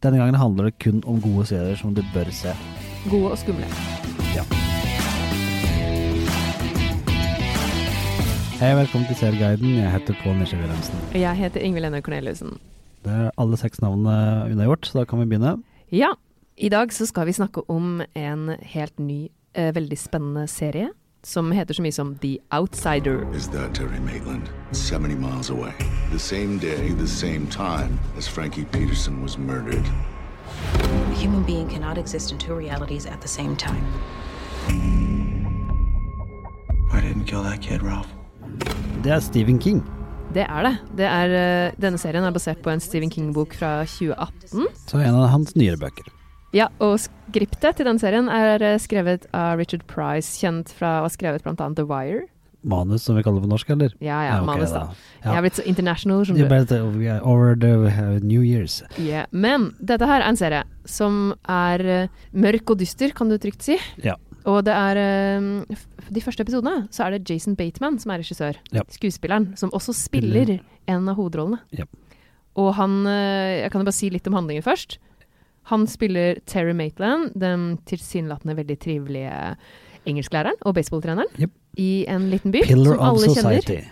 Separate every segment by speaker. Speaker 1: Denne gangen handler det kun om gode serier som du bør se.
Speaker 2: Gode og skumle.
Speaker 1: Ja. Hei, velkommen til Serieguiden. Jeg heter Pål Nesje Wilhelmsen.
Speaker 2: Jeg heter Ingvild Enne Corneliussen.
Speaker 1: Det er alle seks navnene unnagjort, så da kan vi begynne.
Speaker 2: Ja, i dag så skal vi snakke om en helt ny, eh, veldig spennende serie som heter så mye som The Outsider.
Speaker 3: is that Terry Maitland, 70 miles away. The same day, the same time as Frankie Peterson was murdered.
Speaker 4: A human being cannot exist in two realities at the same time.
Speaker 5: I didn't kill that kid, Ralph.
Speaker 1: Det er Stephen King.
Speaker 2: Det er det. det er, eh, denne serien er basert på en Stephen King-bok fra 2018.
Speaker 1: Så en av hans nyere bøker.
Speaker 2: Ja, og skriptet til den serien er eh, skrevet av Richard Price, kjent fra å ha skrevet bl.a. The Wire.
Speaker 1: Manus, som vi kaller det på norsk, eller?
Speaker 2: Ja, ja,
Speaker 1: ok,
Speaker 2: manus da. Jeg
Speaker 1: Ja.
Speaker 2: er blitt så international som
Speaker 1: Det
Speaker 2: du.
Speaker 1: er bare at vi er over the uh, New Year's.
Speaker 2: Yeah. Men dette her er en serie som er eh, mørk og dyster, kan du trygt si.
Speaker 1: Ja.
Speaker 2: Og det er eh, f- De første episodene så er det Jason Bateman som er regissør.
Speaker 1: Ja.
Speaker 2: Skuespilleren som også spiller en av hovedrollene.
Speaker 1: Ja.
Speaker 2: Og han eh, Jeg kan jo bare si litt om handlingen først. Han spiller Terry Maitland, den tilsynelatende veldig trivelige engelsklæreren og baseballtreneren,
Speaker 1: Jep.
Speaker 2: i en liten by
Speaker 1: Pillar
Speaker 2: som
Speaker 1: of
Speaker 2: alle kjenner.
Speaker 1: Society.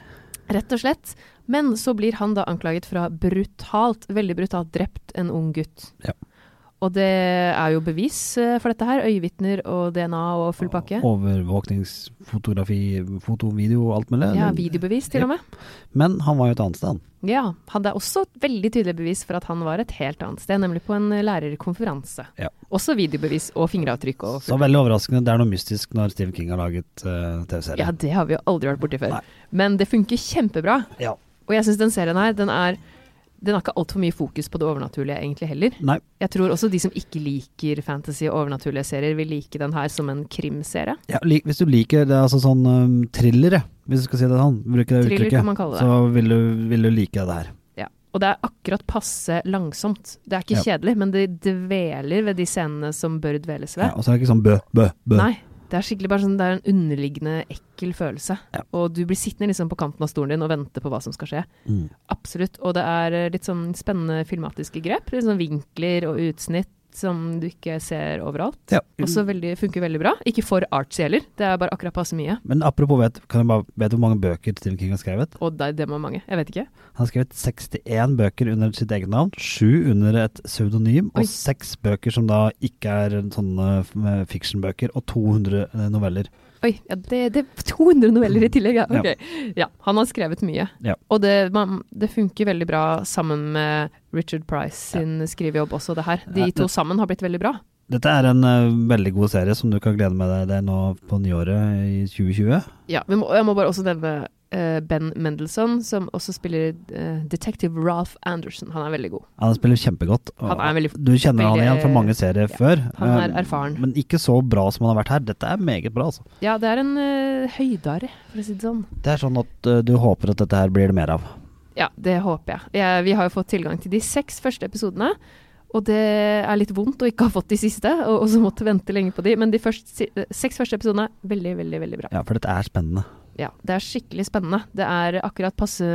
Speaker 2: Rett og slett. Men så blir han da anklaget for å ha brutalt, veldig brutalt drept en ung gutt.
Speaker 1: Ja.
Speaker 2: Og det er jo bevis eh, for dette her. Øyevitner og DNA og full pakke.
Speaker 1: Overvåkningsfotografi, foto, video og alt mulig.
Speaker 2: Ja, videobevis til
Speaker 1: Ja.
Speaker 2: og med.
Speaker 1: Men han var jo et annet sted, han.
Speaker 2: Ja, han det er også et veldig tydelig bevis for at han var et helt annet sted, nemlig på en eh, lærerkonferanse.
Speaker 1: Ja. Sånn
Speaker 2: Også videobevis og fingeravtrykk og
Speaker 1: Så veldig overraskende. Det er noe mystisk når Stephen King har laget eh, TV-serie.
Speaker 2: Ja, det har vi jo aldri vært borti før.
Speaker 1: Nei.
Speaker 2: Men det funker kjempebra.
Speaker 1: Ja.
Speaker 2: Og jeg syns den serien her, den er den har ikke altfor mye fokus på det overnaturlige egentlig heller.
Speaker 1: Nei.
Speaker 2: Jeg tror også de som ikke liker fantasy og overnaturlige serier, vil like den her som en krimserie.
Speaker 1: Ja, lik, hvis du liker det, er altså sånn um, thrillere, hvis du skal si det sånn, bruker det
Speaker 2: Thriller
Speaker 1: uttrykket,
Speaker 2: kan man kalle det.
Speaker 1: så vil du, vil du like det her.
Speaker 2: Ja. Og det er akkurat passe langsomt. Det er ikke
Speaker 1: Ja.
Speaker 2: kjedelig, men det dveler ved de scenene som bør dveles
Speaker 1: Ja,
Speaker 2: ved.
Speaker 1: og så er det ikke sånn bø, bø, bø.
Speaker 2: Nei, det er skikkelig bare sånn, det er en underliggende ekkel følelse.
Speaker 1: Ja.
Speaker 2: Og du blir sittende liksom på kanten av stolen din og vente på hva som skal skje.
Speaker 1: Mm.
Speaker 2: Absolutt. Og det er eh, litt sånn spennende filmatiske grep. Litt sånn vinkler og utsnitt som du ikke ser overalt.
Speaker 1: Ja.
Speaker 2: Også veldig, funker veldig bra. Ikke for artsy heller, det er bare akkurat passe mye.
Speaker 1: Men apropos, vet, kan jeg bare, vet du hvor mange bøker Stephen King har skrevet?
Speaker 2: Og det, det må mange. Jeg vet ikke.
Speaker 1: Han har skrevet 61 bøker under sitt eget navn, sju under et pseudonym,
Speaker 2: Oi.
Speaker 1: og seks bøker som da ikke er sånne f- med fiksjonbøker, og 200 noveller.
Speaker 2: Oi, ja, det, det er 200 noveller i tillegg, ja. Ok. Ja, han har skrevet mye.
Speaker 1: Ja.
Speaker 2: Og det, man, det funker veldig bra sammen med Richard Price sin skrivejobb også, det her.
Speaker 1: Ja,
Speaker 2: De
Speaker 1: det-
Speaker 2: to sammen har blitt veldig bra.
Speaker 1: Dette er en eh, veldig god serie som du kan glede med deg til nå på nyåret i 2020.
Speaker 2: Ja, vi må, jeg må bare også nevne eh, Ben Mendelsohn, som også spiller eh, Detective Ralph Anderson. Han er veldig god.
Speaker 1: Han spiller kjempegodt. og
Speaker 2: Han er veldig-
Speaker 1: du kjenner han
Speaker 2: veldig-
Speaker 1: igjen fra mange serier
Speaker 2: ja,
Speaker 1: før.
Speaker 2: han er
Speaker 1: eh,
Speaker 2: erfaren.
Speaker 1: Men ikke så bra som han har vært her. Dette er meget bra, altså.
Speaker 2: Ja, det er en eh, høydare, for å si det sånn.
Speaker 1: Det er sånn at eh, du håper at dette her blir det mer av.
Speaker 2: Ja, det håper jeg. jeg. Vi har jo fått tilgang til de seks første episodene. Og det er litt vondt å ikke ha fått de siste, og, og så måtte vente lenge på de. Men de først, si- eh, seks første episodene er veldig, veldig veldig bra.
Speaker 1: Ja, for dette er spennende.
Speaker 2: Ja, Det er skikkelig spennende. Det er akkurat passe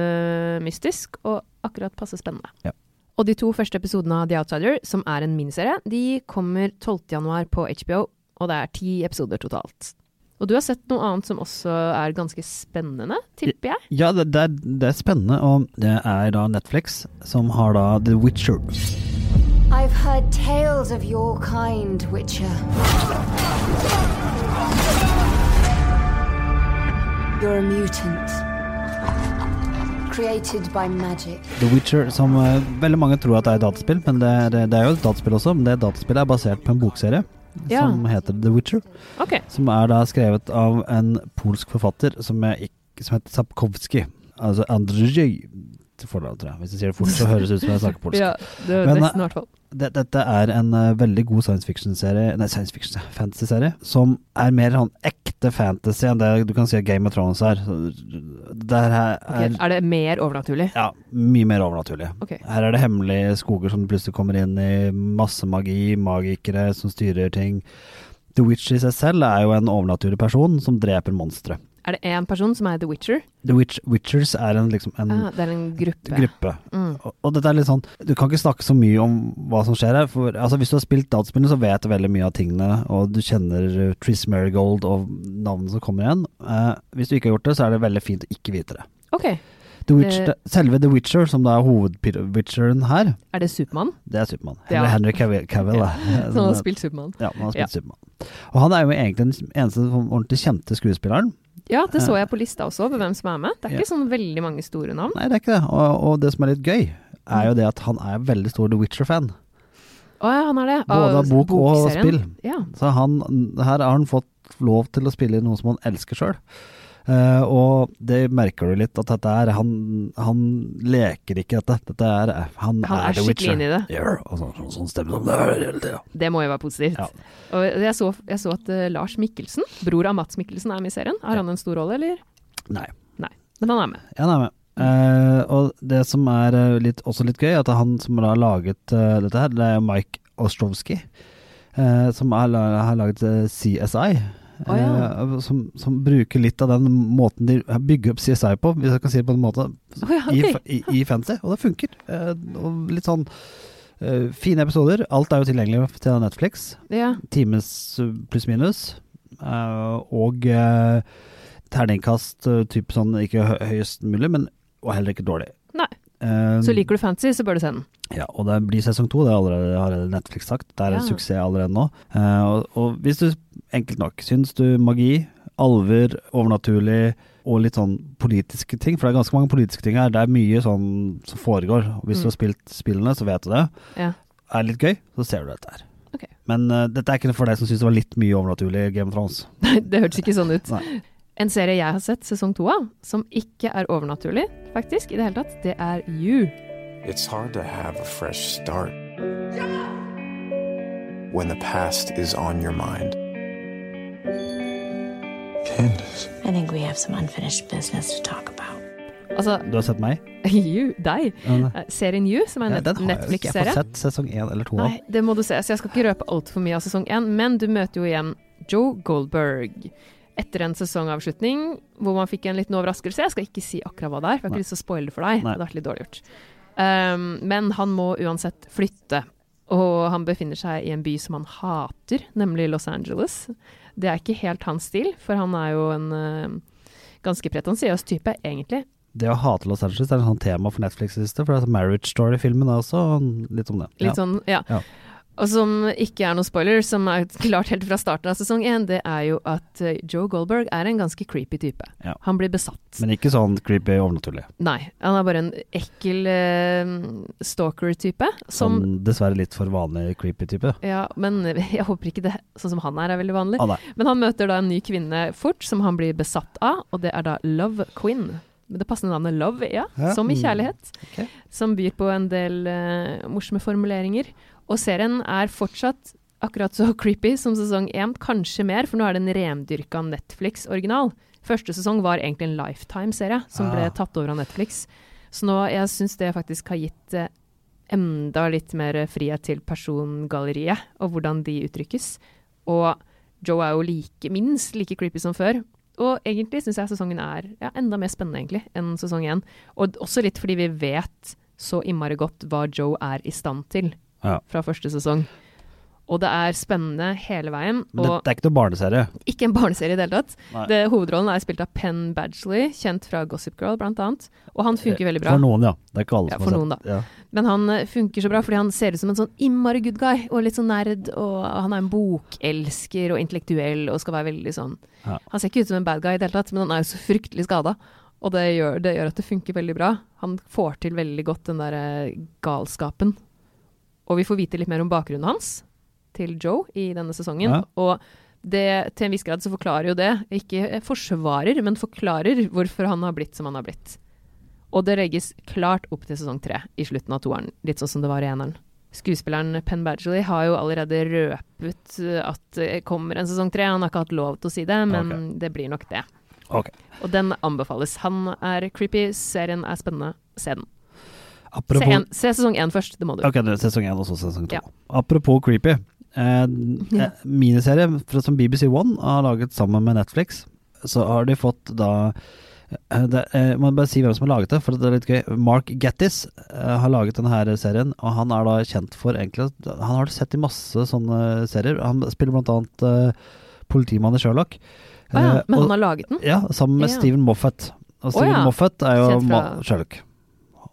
Speaker 2: mystisk, og akkurat passe spennende.
Speaker 1: Ja.
Speaker 2: Og de to første episodene av The Outsider, som er en miniserie, de kommer 12.1 på HBO. Og det er ti episoder totalt. Og du har sett noe annet som også er ganske spennende, tipper jeg.
Speaker 1: Ja, det, det, er, det er spennende, og det er da Netflix som har da The Witcher.
Speaker 6: I've heard tales of your kind, Witcher. You're a mutant. Created by magic.
Speaker 1: The Witcher som eh, veldig mange tror at det er et dataspill, men det er, det er jo et dataspill også. Men det dataspillet er basert på en bokserie
Speaker 2: Ja.
Speaker 1: som heter The Witcher.
Speaker 2: Ok,
Speaker 1: Som er da skrevet av en polsk forfatter som, jeg, ikk- som heter Sapkowski. Altså Andrzej til fornavn, tror jeg. Hvis jeg sier det fort, så høres det ut som jeg snakker polsk.
Speaker 2: Ja, det er
Speaker 1: Men, eh,
Speaker 2: nesten i hvert fall.
Speaker 1: Det- Dette er en eh, veldig god science fiction-serie, nei, science fiction, fantasy-serie, som er mer sånn ekte fantasy enn det du kan si at Game of Thrones er. Så Der her
Speaker 2: Ok,
Speaker 1: er
Speaker 2: er det mer overnaturlig?
Speaker 1: ja, mye mer overnaturlig.
Speaker 2: Ok.
Speaker 1: Her er det hemmelige skoger som du plutselig kommer inn i, masse magi, magikere som styrer ting. The Witch i seg selv er jo en overnaturlig person som dreper monstre.
Speaker 2: Er det én person som er The Witcher?
Speaker 1: The Witch, Witchers er en, liksom en
Speaker 2: Ah, det er en gruppe.
Speaker 1: gruppe.
Speaker 2: Mm.
Speaker 1: Og, og dette er litt sånn Du kan ikke snakke så mye om hva som skjer her. For altså, hvis du har spilt dataspillene, så vet du veldig mye av tingene, og du kjenner eh, Triss Marigold og navnene som kommer igjen. Eh, hvis du ikke har gjort det, så er det veldig fint å ikke vite det.
Speaker 2: Ok.
Speaker 1: The Witch,
Speaker 2: Det-
Speaker 1: selve The Witcher, som da er hovedwitcheren her,
Speaker 2: Er det Supermann?
Speaker 1: det er Supermann.
Speaker 2: Ja.
Speaker 1: Eller Henry Cavill. Cavill da.
Speaker 2: Som har spilt Supermann?
Speaker 1: Ja, han har
Speaker 2: Ja.
Speaker 1: spilt Supermann. Og han er jo egentlig den eneste sånn ordentlig kjente skuespilleren.
Speaker 2: Ja, det så jeg på lista også, over hvem som er med. Det er
Speaker 1: Ja.
Speaker 2: ikke sånn veldig mange store navn.
Speaker 1: Nei, det er ikke det. Og, og det som er litt gøy, er jo det at han er veldig stor The Witcher-fan.
Speaker 2: Å ja, han er det.
Speaker 1: Både av bok og
Speaker 2: bokserien.
Speaker 1: spill.
Speaker 2: Ja.
Speaker 1: Så han, her har han fått lov til å spille noe som han elsker sjøl. og det merker du litt, at dette er Han, han leker ikke dette. dette er, han,
Speaker 2: Han er
Speaker 1: er The
Speaker 2: skikkelig
Speaker 1: Witcher.
Speaker 2: inn i det.
Speaker 1: Ja, og sånn, sånn, sånn stemme som det er hele tida.
Speaker 2: Det må jo være positivt.
Speaker 1: Ja.
Speaker 2: Og jeg så, jeg så at eh, Lars Mikkelsen, bror av Mats Mikkelsen, er med i serien. Har han en stor rolle, eller?
Speaker 1: Nei.
Speaker 2: Nei. Men han er med.
Speaker 1: Ja, nei, men. Eh, og det som er eh, litt, også litt gøy, er at han som har laget eh, dette her, det er Mike Ostrowski. eh, som har, la- har laget eh, CSI. eh,
Speaker 2: Å, ja.
Speaker 1: som, som bruker litt av den måten de bygger opp CSI på, hvis jeg kan si det på en måte,
Speaker 2: Å ja,
Speaker 1: i,
Speaker 2: ok.
Speaker 1: fa- i, i fancy. Og det funker. Eh, og litt sånn eh, fine episoder. Alt er jo tilgjengelig til Netflix
Speaker 2: Ja.
Speaker 1: times eh, pluss minus. eh, og eh, terningkast eh, typ sånn ikke hø høyest mulig, men og heller ikke dårlig.
Speaker 2: Nei.
Speaker 1: Eh,
Speaker 2: Så liker du fancy, så bør du se den.
Speaker 1: Ja, og det blir sesong to, det har allerede, har allerede Netflix sagt. Det er en
Speaker 2: Ja.
Speaker 1: suksess allerede nå. Eh, og, og hvis du, enkelt nok, syns du magi, alver, overnaturlig og litt sånn politiske ting, for det er ganske mange politiske ting her, det er mye sånn som foregår. Og hvis
Speaker 2: Mm.
Speaker 1: du har spilt spillene, så vet du det.
Speaker 2: Ja.
Speaker 1: Er det litt gøy, så ser du dette her.
Speaker 2: Ok.
Speaker 1: Men eh, dette er ikke for deg som syns det var litt mye overnaturlig i Game of Thrones.
Speaker 2: Nei, det hørtes ikke sånn ut.
Speaker 1: Nei.
Speaker 2: En serie jeg har sett sesong to av, som ikke er overnaturlig, faktisk, i det hele tatt, det er You.
Speaker 7: It's hard to have a fresh start when the past is on your mind.
Speaker 5: Candace.
Speaker 4: I think we have some unfinished business to talk about.
Speaker 2: Altså,
Speaker 1: Du har sett meg?
Speaker 2: You, deg.
Speaker 1: Ja, nei.
Speaker 2: Eh, Serien You, som er en
Speaker 1: Ja, den har jeg jo ikke. Jeg
Speaker 2: Netflix-serie.
Speaker 1: har fått sett sesong én eller to. av
Speaker 2: Nei, det må du se, så jeg skal ikke røpe altfor mye av sesong én, men du møter jo igjen Joe Goldberg. Etter en sesongavslutning hvor man fikk en liten overraskelse. Jeg skal ikke si akkurat hva det er, for jeg har
Speaker 1: Nei.
Speaker 2: ikke lyst til å spoile det for deg. Det
Speaker 1: Nei.
Speaker 2: hadde vært litt dårlig gjort. Um, men han må uansett flytte, og han befinner seg i en by som han hater, nemlig Los Angeles. Det er ikke helt hans stil, for han er jo en uh, ganske pretensiøs type, egentlig.
Speaker 1: Det å hate Los Angeles er en sånn tema for Netflix i det siste, for det er sånn Marriage Story-filmen er også og litt om det.
Speaker 2: Litt
Speaker 1: ja.
Speaker 2: sånn, ja.
Speaker 1: Ja.
Speaker 2: Og som ikke er noen spoiler, som er klart helt fra starten av sesong én, det er jo at eh, Joe Goldberg er en ganske creepy type.
Speaker 1: Ja.
Speaker 2: Han blir besatt.
Speaker 1: Men ikke sånn creepy overnaturlig.
Speaker 2: Nei, han er bare en ekkel eh, stalker-type. Som
Speaker 1: Sånn dessverre litt for vanlig creepy type.
Speaker 2: Ja, men jeg håper ikke det sånn som han er, er veldig vanlig.
Speaker 1: Ah, nei.
Speaker 2: Men han møter da en ny kvinne fort, som han blir besatt av, og det er da Love Quinn. Med det passende navnet Love, ja.
Speaker 1: Ja,
Speaker 2: Som i
Speaker 1: mm.
Speaker 2: kjærlighet.
Speaker 1: Ok.
Speaker 2: Som byr på en del eh, morsomme formuleringer. Og serien er fortsatt akkurat så creepy som sesong én, kanskje mer, for nå er det en rendyrka Netflix-original. Første sesong var egentlig en Lifetime-serie, som ble
Speaker 1: Ah.
Speaker 2: tatt over av Netflix. Så nå, jeg syns det faktisk har gitt eh, enda litt mer frihet til persongalleriet, og hvordan de uttrykkes. Og Joe er jo like, minst like creepy som før. Og egentlig syns jeg sesongen er ja, enda mer spennende egentlig, enn sesong én. Og d- også litt fordi vi vet så innmari godt hva Joe er i stand til
Speaker 1: Ja.
Speaker 2: fra første sesong. Og det er spennende hele veien.
Speaker 1: Men
Speaker 2: Og
Speaker 1: dette er ikke noe barneserie.
Speaker 2: ikke en barneserie i det hele tatt.
Speaker 1: Nei.
Speaker 2: Det, hovedrollen er spilt av Penn Badgley, kjent fra Gossip Girl blant annet. Og han funker veldig bra.
Speaker 1: Eh, For noen, ja. Det er ikke alle
Speaker 2: Ja,
Speaker 1: som
Speaker 2: for
Speaker 1: har
Speaker 2: noen,
Speaker 1: sett Ja.
Speaker 2: Men han eh, funker så bra fordi han ser ut som en sånn innmari good guy, og litt sånn nerd, og han er en bokelsker og intellektuell og skal være veldig sånn
Speaker 1: Ja.
Speaker 2: Han ser ikke ut som en bad guy i det hele tatt, men han er jo så fryktelig skada. Og det gjør, det gjør at det funker veldig bra. Han får til veldig godt den derre galskapen. Og vi får vite litt mer om bakgrunnen hans til Joe i denne sesongen.
Speaker 1: Ja.
Speaker 2: Og det, til en viss grad så forklarer jo det, ikke forsvarer, men forklarer hvorfor han har blitt som han har blitt. Og det legges klart opp til sesong tre i slutten av toeren, litt sånn som det var i eneren. Skuespilleren Penn Badgley har jo allerede røpet eh, at det kommer en sesong tre. Han har ikke hatt lov til å si det, men det blir nok det.
Speaker 1: Ok.
Speaker 2: Og den anbefales. Han er creepy, serien er spennende. Se den. Se,
Speaker 1: Apropos
Speaker 2: en, se sesong én først, det må du.
Speaker 1: Ok, det er sesong én og så sesong to.
Speaker 2: Ja.
Speaker 1: Apropos creepy. Eh, eh, miniserie fra, som BBC One har laget sammen med Netflix, så har de fått da eh, det, Jeg må bare si hvem som har laget det, for det er litt gøy. Mark Gattis eh, har laget denne her serien, og han er da kjent for egentlig at- Han har sett i masse sånne serier. Han spiller blant annet eh, politimannen i Sherlock.
Speaker 2: Å ja,
Speaker 1: Eh,
Speaker 2: men
Speaker 1: og-
Speaker 2: han har laget den?
Speaker 1: Ja, sammen med
Speaker 2: Ja.
Speaker 1: Steven Moffat. Og
Speaker 2: Å
Speaker 1: Steven
Speaker 2: ja.
Speaker 1: Moffat er jo
Speaker 2: Kjent fra-
Speaker 1: ma- Sherlock.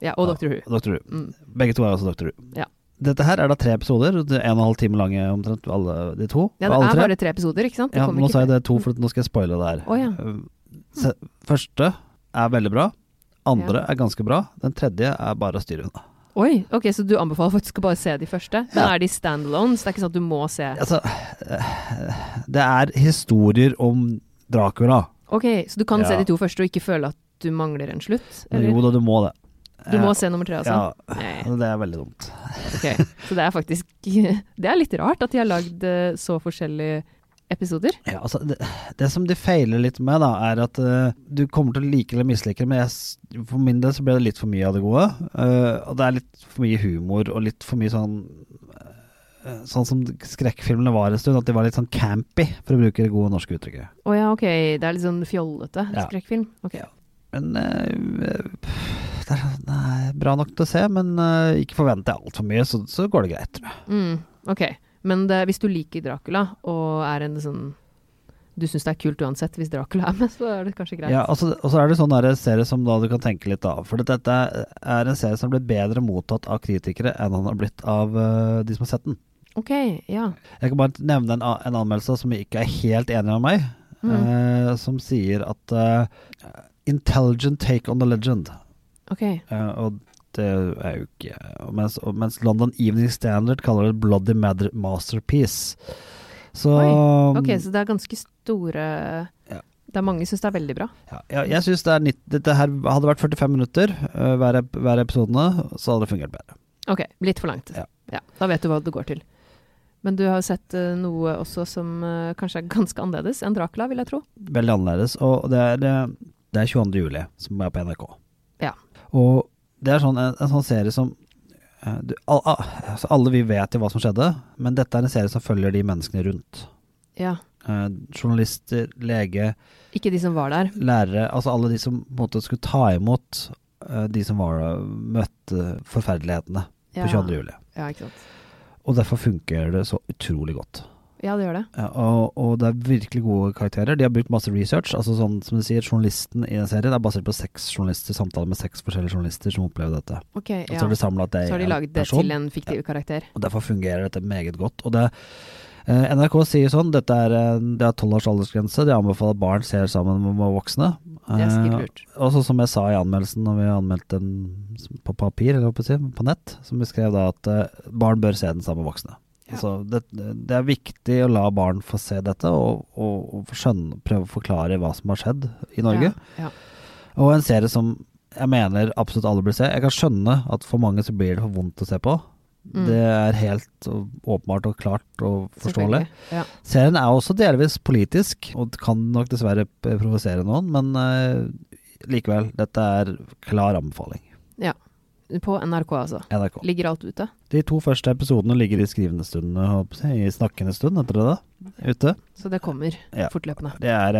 Speaker 2: Ja, og Dr. Who.
Speaker 1: Dr. Who.
Speaker 2: Mm.
Speaker 1: Begge to er også Dr. Who.
Speaker 2: Ja.
Speaker 1: Dette her er da tre episoder, det er en og en halv time lange omtrent, alle de to.
Speaker 2: Ja, det
Speaker 1: alle
Speaker 2: er
Speaker 1: tre.
Speaker 2: bare tre episoder, ikke sant? Det
Speaker 1: Ja,
Speaker 2: kommer
Speaker 1: nå
Speaker 2: ikke
Speaker 1: sa jeg
Speaker 2: til-
Speaker 1: det to, for nå skal jeg spoile det her. Um,
Speaker 2: Å ja.
Speaker 1: Se, første er veldig bra. Andre er ganske bra. Den tredje er bare å styre unna.
Speaker 2: Oi, ok, så du anbefaler faktisk å bare se de første? Men
Speaker 1: Ja.
Speaker 2: er de standalones? Det er ikke sånn at du må se
Speaker 1: Altså, det er historier om Dracula.
Speaker 2: Ok, så du kan se
Speaker 1: Ja.
Speaker 2: de to første og ikke føle at du mangler en slutt? Eller?
Speaker 1: Jo da, du må det.
Speaker 2: Du må
Speaker 1: Eh,
Speaker 2: se altså. nummer tre også?
Speaker 1: Ja,
Speaker 2: Nei,
Speaker 1: det er veldig dumt.
Speaker 2: ok. Så det er faktisk Det er litt rart at de har lagd eh, så forskjellige episoder.
Speaker 1: Ja, altså, det, det som de feiler litt med, da, er at eh, du kommer til å like eller mislike det, men jeg, s- for min del så ble det litt for mye av det gode. eh, og det er litt for mye humor og litt for mye sånn eh, Sånn som skrekkfilmene var en stund, at de var litt sånn campy, for å bruke det gode norske uttrykket.
Speaker 2: Å ja, ok. Det er litt sånn fjollete
Speaker 1: Ja.
Speaker 2: skrekkfilm. Ok.
Speaker 1: Ja. Men eh, pff, det er sånn, nei, bra nok til å se, men eh, ikke forvente altfor mye, så, så går det greit, tror jeg.
Speaker 2: Mm, ok. Men det, hvis du liker Dracula og er en sånn Du syns det er kult uansett hvis Dracula er med, så er det kanskje greit.
Speaker 1: Ja, altså, og så er det sånn der serie som da du kan tenke litt av. For dette er en serie som har blitt bedre mottatt av kritikere enn han har blitt av eh, de som har sett den.
Speaker 2: Ok, ja.
Speaker 1: Jeg kan bare nevne en, a- en anmeldelse som ikke er helt enig med meg,
Speaker 2: Mm.
Speaker 1: eh, som sier at eh, 'intelligent take on the legend'.
Speaker 2: Ok.
Speaker 1: Eh, og det er jo ikke og mens, og mens London Evening Standard kaller det 'bloody mad masterpiece'. Så,
Speaker 2: Oi. Ok, så det er ganske store
Speaker 1: Ja.
Speaker 2: Det er mange som syns det er veldig bra.
Speaker 1: ja, ja, jeg syns det er nitt- Dette her hadde vært 45 minutter eh, hver, ep- hver episode, så hadde det fungert bedre.
Speaker 2: Ok, litt for langt.
Speaker 1: Ja.
Speaker 2: Da vet du hva det går til. Men du har jo sett eh, noe også som eh, kanskje er ganske annerledes enn Dracula, vil jeg tro.
Speaker 1: Veldig annerledes. Og det er, eh, det er 22. juli, som er på NRK.
Speaker 2: Ja.
Speaker 1: Og det er sånn, en, en sånn serie som eh, du, al, al, altså Alle vi vet jo hva som skjedde, men dette er en serie som følger de menneskene rundt.
Speaker 2: Ja.
Speaker 1: Eh, journalister, lege,
Speaker 2: Ikke de som var der.
Speaker 1: lærere, altså alle de som på en måte skulle ta imot eh, de som var, møtte forferdelighetene
Speaker 2: Ja.
Speaker 1: på 22. juli.
Speaker 2: Ja, ikke sant.
Speaker 1: Og derfor funker det så utrolig godt.
Speaker 2: Ja, det gjør det.
Speaker 1: Ja, og, og det er virkelig gode karakterer. De har brukt masse research. altså sånn som du sier, Journalisten i den serien er basert på seks journalister, samtaler med seks forskjellige journalister som opplevde dette.
Speaker 2: Ok, ja.
Speaker 1: Og så har de samlet det
Speaker 2: Så har
Speaker 1: i
Speaker 2: de
Speaker 1: en
Speaker 2: laget det
Speaker 1: person,
Speaker 2: til en fiktiv karakter.
Speaker 1: og derfor fungerer dette meget godt. Og det, eh, NRK sier sånn dette er, en- det er 12 års aldersgrense, de anbefaler at barn ser sammen med med voksne.
Speaker 2: Det er sikkert
Speaker 1: Eh,
Speaker 2: lurt.
Speaker 1: og så som jeg sa i anmeldelsen, når vi anmeldte den s- på papir, eller hva skal jeg si, på nett, som vi skrev da at eh, barn bør se den sammen med voksne.
Speaker 2: Ja.
Speaker 1: Altså, det, det er viktig å la barn få se dette, og, og, og få skjønne, prøve å forklare hva som har skjedd i Norge.
Speaker 2: Ja, ja.
Speaker 1: Og en serie som jeg mener absolutt alle bør se. Jeg kan skjønne at for mange så blir det for vondt å se på.
Speaker 2: Mm.
Speaker 1: Det er helt og- åpenbart og klart og forståelig.
Speaker 2: Selvfølgelig. Ja.
Speaker 1: Serien er også delvis politisk, og kan nok dessverre p- provosere noen, men eh, likevel, dette er klar anbefaling.
Speaker 2: På NRK, altså.
Speaker 1: NRK.
Speaker 2: Ligger alt ute?
Speaker 1: De to første episodene ligger i skrivende stund, jeg håper jeg, i snakkende stund, heter det da, ute.
Speaker 2: Så det kommer
Speaker 1: Ja.
Speaker 2: fortløpende.
Speaker 1: Det er,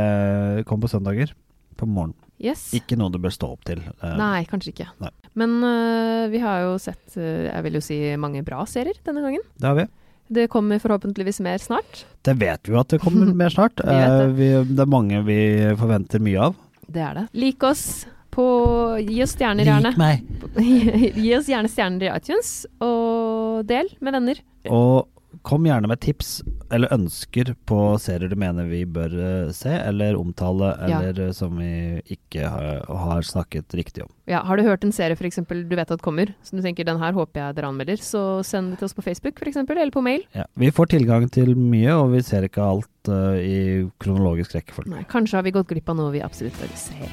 Speaker 1: eh, kom på søndager, på morgenen.
Speaker 2: Yes.
Speaker 1: Ikke noe du bør stå opp til. eh,
Speaker 2: Nei, kanskje ikke.
Speaker 1: Nei.
Speaker 2: Men øh, vi har jo sett, øh, jeg vil jo si, mange bra serier denne gangen.
Speaker 1: Det har vi.
Speaker 2: Det kommer forhåpentligvis mer snart.
Speaker 1: Det vet vi jo at det kommer mer snart.
Speaker 2: Vi vet det.
Speaker 1: Eh, vi, det er mange vi forventer mye av.
Speaker 2: Det er det. Lik oss på Gi oss stjerner, gjerne.
Speaker 1: Lik meg!
Speaker 2: Gi oss gjerne stjerner i iTunes, og del med venner.
Speaker 1: Og kom gjerne med tips eller ønsker på serier du mener vi bør eh, se eller omtale,
Speaker 2: Ja.
Speaker 1: eller eh, som vi ikke har, har snakket riktig om.
Speaker 2: Ja, har du hørt en serie for eksempel, du vet at kommer, som du tenker den her håper jeg dere anmelder, så send det til oss på Facebook for eksempel, eller på mail.
Speaker 1: Ja. Vi får tilgang til mye, og vi ser ikke alt eh, i kronologisk rekkefølge.
Speaker 2: Nei, kanskje har vi gått glipp av noe vi absolutt bør se.